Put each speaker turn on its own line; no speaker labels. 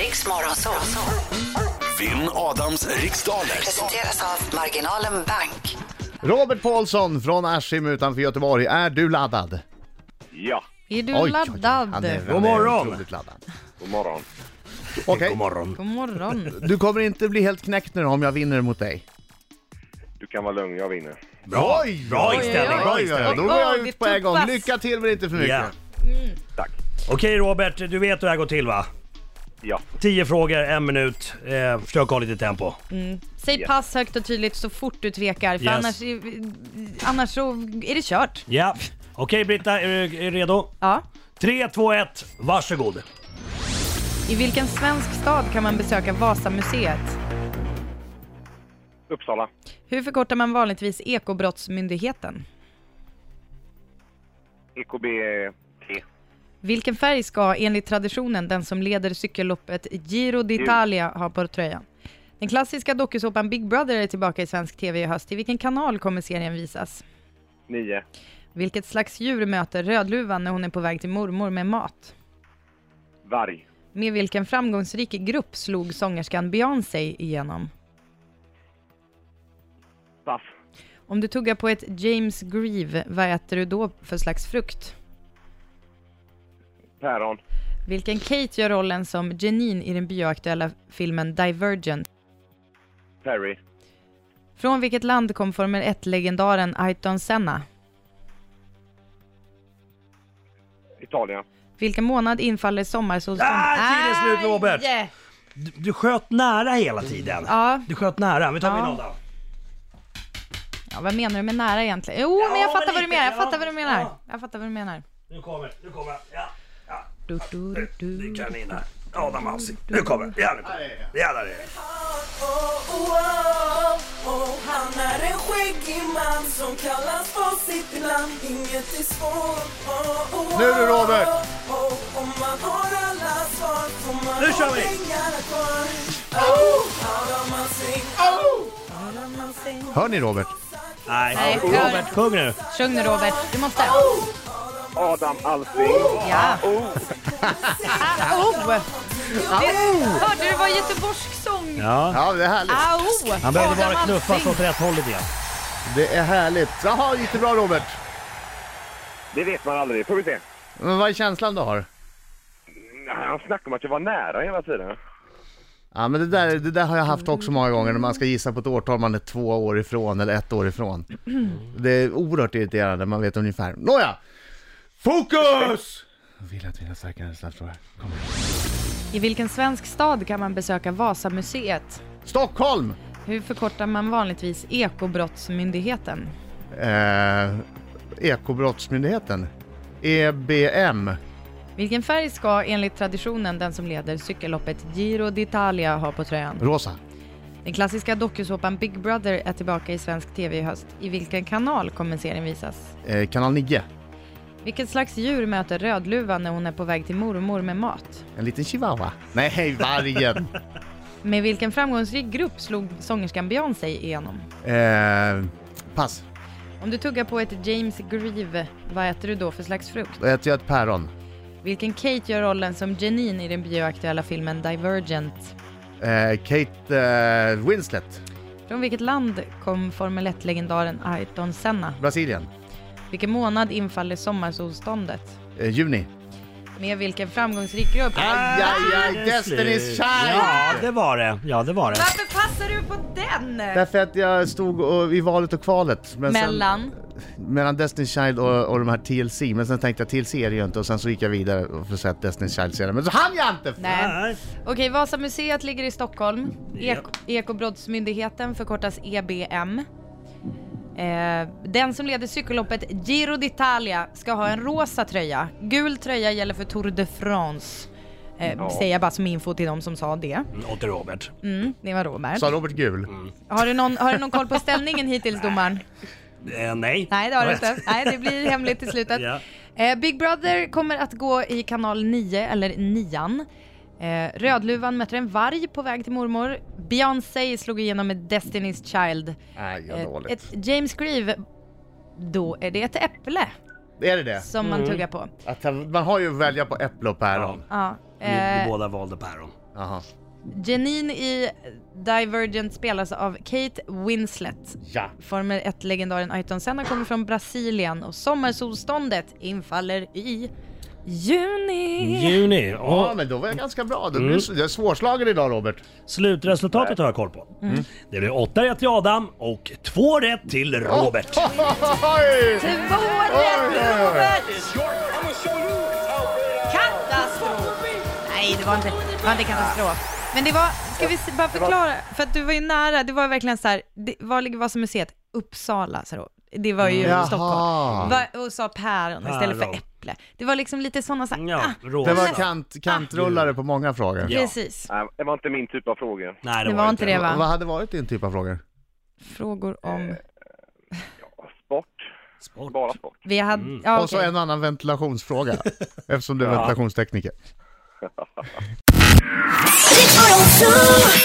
Riks Morgonzoo.
Vinn Adams riksdaler.
Presenteras av Marginalen Bank.
Robert Paulsson från Askim utanför Göteborg, är du laddad?
Ja,
Är du
Han
laddad?
är, han
God morgon.
Är otroligt laddad.
god morgon.
Okej,
God morgon.
God morgon.
du kommer inte bli helt knäckt nu om jag vinner mot dig.
Du kan vara lugn, jag vinner.
Bra, bra inställning.
oj,
Bra
oj.
inställning.
Då går jag
Oj, det
ut på en gång.
tuppas.
Lycka till men inte för mycket.
Ja.
Tack.
Okej Robert, du vet hur det här går till va?
Ja,
Tio frågor, en minut. Eh, försök ha lite tempo.
Säg pass högt och tydligt så fort du tvekar, för
Yes.
annars, är- annars så är det kört.
Ja. Okej Britta, är du är du redo?
Ja.
3, 2, 1, varsågod.
I vilken svensk stad kan man besöka Vasamuseet?
Uppsala.
Hur förkortar man vanligtvis Ekobrottsmyndigheten?
E EKBT.
Vilken färg ska enligt traditionen den som leder cykelloppet Giro d'Italia ha på tröjan? Den klassiska dokusåpan Big Brother är tillbaka i svensk tv i höst. I vilken kanal kommer serien visas?
9.
Vilket slags djur möter Rödluvan när hon är på väg till mormor med mat?
Varg.
Med vilken framgångsrik grupp slog sångerskan Beyoncé igenom?
Pass.
Om du tuggar på ett James Grieve, vad äter du då för slags frukt?
Päron.
Vilken Kate gör rollen som Janine i den bioaktuella filmen Divergent?
Perry.
Från vilket land kom Formel 1-legendaren Ayrton Senna?
Italien.
Vilken månad infaller sommarsolståndet?
Ah, tiden är slut,
Aj!
Robert. Du, du sköt nära hela tiden.
Ja.
Du sköt nära. Vi tar
Ja.
vinnadan.
ja, vad menar du med nära egentligen? Jo, men jag
Ja,
fattar
men
vad du
lite,
menar, jag
ja.
fattar vad du menar.
Ja.
Jag fattar vad du menar.
Nu kommer, nu kommer. Ja, ja.
Du, du, du,
Det
du.
är kanin här. Adam Alsing. Nu kommer. Ja, nu kommer. Ja, där är det.
Oh, Han är en skäggig man som kallas på sitt namn Inget är svårt oh, oh,
Nu du, Robert.
oh, oh. Om man har alla svar får man
Nu kör
ha
vi.
pengarna kvar oh, Adam Alsing oh. Adam Alsing
Hör ni Robert?
Nej,
kör.
Robert, sjung nu.
Sjung nu Robert, du måste.
Adam Alsing.
Ja. Au! Det- Hörde du, det var göteborgsk sång.
Ja.
Ah.
Ja, det är härligt.
Au!
Han behövde
Adam
bara knuffas
Alsing.
åt rätt håll lite grann.
Det är härligt. Jaha, gick det bra Robert?
Det vet man aldrig. Får vi se.
Men vad är känslan du har?
Han snackade om att jag var nära hela tiden.
Ja, men det där, det där har jag haft också många gånger när man ska gissa på ett årtal man är två år ifrån eller ett år ifrån. Det är oerhört irriterande, man vet ungefär. Nåja! Fokus! Jag vill att mina starkare snabbfrågor. Kom igen.
I vilken svensk stad kan man besöka Vasamuseet?
Stockholm!
Hur förkortar man vanligtvis Ekobrottsmyndigheten?
Eh, Ekobrottsmyndigheten. E EBM.
Vilken färg ska enligt traditionen den som leder cykelloppet Giro d'Italia ha på tröjan?
Rosa.
Den klassiska dokusåpan Big Brother är tillbaka i svensk tv i höst. I vilken kanal kommer serien visas?
Eh, kanal 9.
Vilket slags djur möter Rödluvan när hon är på väg till mormor med mat?
En liten chihuahua. Nej, vargen.
Med vilken framgångsrik grupp slog sångerskan Beyoncé igenom?
eh, pass.
Om du tuggar på ett James Grieve, vad äter du då för slags frukt?
Då äter jag ett päron.
Vilken Kate gör rollen som Janine i den bioaktuella filmen Divergent?
Eh, Kate eh, Winslet.
Från vilket land kom Formel 1-legendaren Ayrton Senna?
Brasilien.
Vilken månad infaller sommarsolståndet?
Eh, juni.
Med vilken framgångsrik grupp?
Aj, aj, aj,
Det är
Destiny's
slut.
Child!
Ja, det var det. Ja, det var det.
Varför passar du på den?
Därför att jag stod och, i valet och kvalet. Men
Mellan?
Sen, mellan Destiny's Child och, och de här TLC, men sen tänkte jag TLC är det ju inte och sen så gick jag vidare och för att se att Destiny's Child senare, men så hann jag inte!
Nej.
Nej.
Okej, Vasamuseet ligger i Stockholm.
Ja.
Eko- Ekobrottsmyndigheten förkortas EBM. Eh, den som leder cykelloppet Giro d'Italia ska ha en rosa tröja. Gul tröja gäller för Tour de France. Eh, Säger jag bara som info till de som sa det.
Åt Robert.
Mm, det var Robert.
Sa Robert Gul?
Har du, någon, har du någon koll på ställningen hittills domaren?
Eh, nej.
Nej det har du inte. Nej det blir hemligt i slutet.
Ja.
eh, Big Brother kommer att gå i kanal 9 eller 9. Eh, Rödluvan möter en varg på väg till mormor. Beyoncé slog igenom med Destiny's Child.
Nej, vad
Eh,
dåligt.
ett James Grieve, då är det ett äpple
Är det det?
som man tuggar på.
Att, man har ju att välja på äpple och päron.
Ja.
Ni, ni båda valde päron.
Jaha.
Janine i Divergent spelas av Kate Winslet.
Ja.
Formel 1-legendaren Ayrton Senna kommer från Brasilien och sommarsolståndet infaller i juni.
Juni.
Ja,
Och
men då var jag ganska bra. Du mm. är svårslagen idag Robert.
slutresultatet har jag koll på.
Mm.
Mm. Det blir 8 rätt till Adam och 2 rätt till
Oh.
Robert.
Ah.
Oj!
Två rätt Robert! Katastrof! Nej, det var inte, det var inte katastrof. Men det var, ska vi se- bara förklara, för att du var ju nära, det var verkligen så här, det, var ligger Vasamuseet? Uppsala, så då. Det var ju
Jaha.
Stockholm. Va, och sa päron istället för
Päron.
äpple. Det var liksom lite sådana så här,
Ja,
ah,
rosa.
Det var kant, kantrullare på många frågor.
Ja.
precis.
Nej, det var inte min typ av frågor.
Nej,
Det var inte det
Vad
va?
hade varit din typ av frågor?
Frågor om...
Sport.
Sport.
Bara sport.
Vi hade... Ja,
Och så
okej.
en annan ventilationsfråga, eftersom du är ventilationstekniker.
Riks 102.